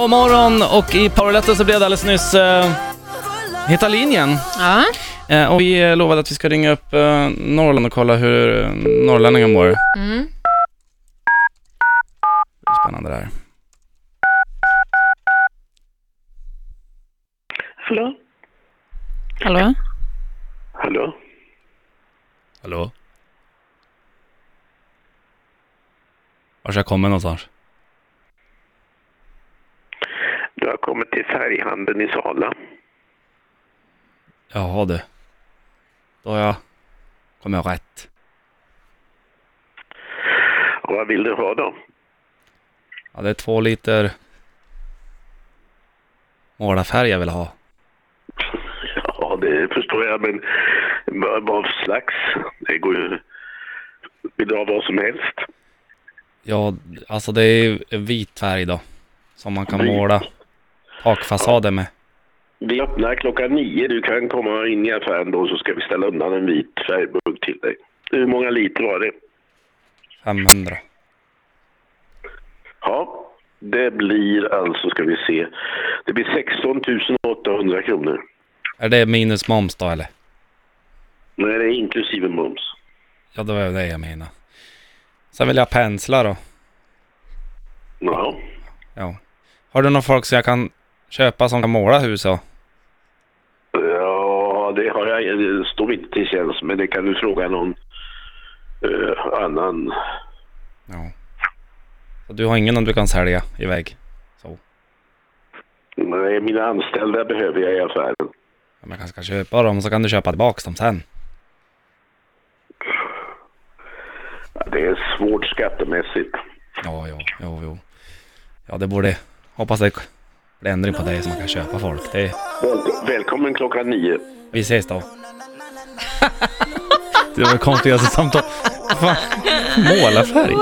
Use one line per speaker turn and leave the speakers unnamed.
Powermorgon och i Powerletten så blev det alldeles nyss eh, Heta linjen.
Ja.
Eh, och vi eh, lovade att vi ska ringa upp eh, Norrland och kolla hur eh, norrlänningar mår.
Mm.
Det är Spännande det här.
Hallå?
Hallå?
Hallå?
Hallå? Vart ska jag komma någonstans?
Du har kommit till färghandeln i Sala.
Jaha du. Då har jag... Kommer jag rätt?
Och vad vill du ha då?
Ja, det är två liter... Målarfärg jag vill ha.
Ja, det förstår jag, men vad vad för slags? Det går ju... Vill du ha vad som helst?
Ja, alltså det är vit färg då. Som man kan måla takfasader med.
Vi öppnar klockan nio. Du kan komma in i affären då så ska vi ställa undan en vit färgburk till dig. Hur många liter var det?
500.
Ja, det blir alltså, ska vi se, det blir 16 800 kronor.
Är det minus moms då eller?
Nej, det är inklusive moms.
Ja, det var ju det jag menade. Sen vill jag penslar då.
Ja.
Ja. Har du någon folk som jag kan köpa som kan måla hus då?
Ja, det har jag. Det står inte till tjänst, men det kan du fråga någon eh, annan.
Ja. Så du har ingen om du kan sälja iväg? Så.
Nej, mina anställda behöver jag i affären.
Ja, men jag kanske ska köpa dem så kan du köpa tillbaka dem sen.
Ja, Det är svårt skattemässigt.
Ja, ja, jo, jo. Ja, det borde... Hoppas det blir ändring på det så man kan köpa folk. Det...
Väl- Välkommen klockan nio.
Vi ses då. det var det konstigaste samtal. Fan, målarfärg.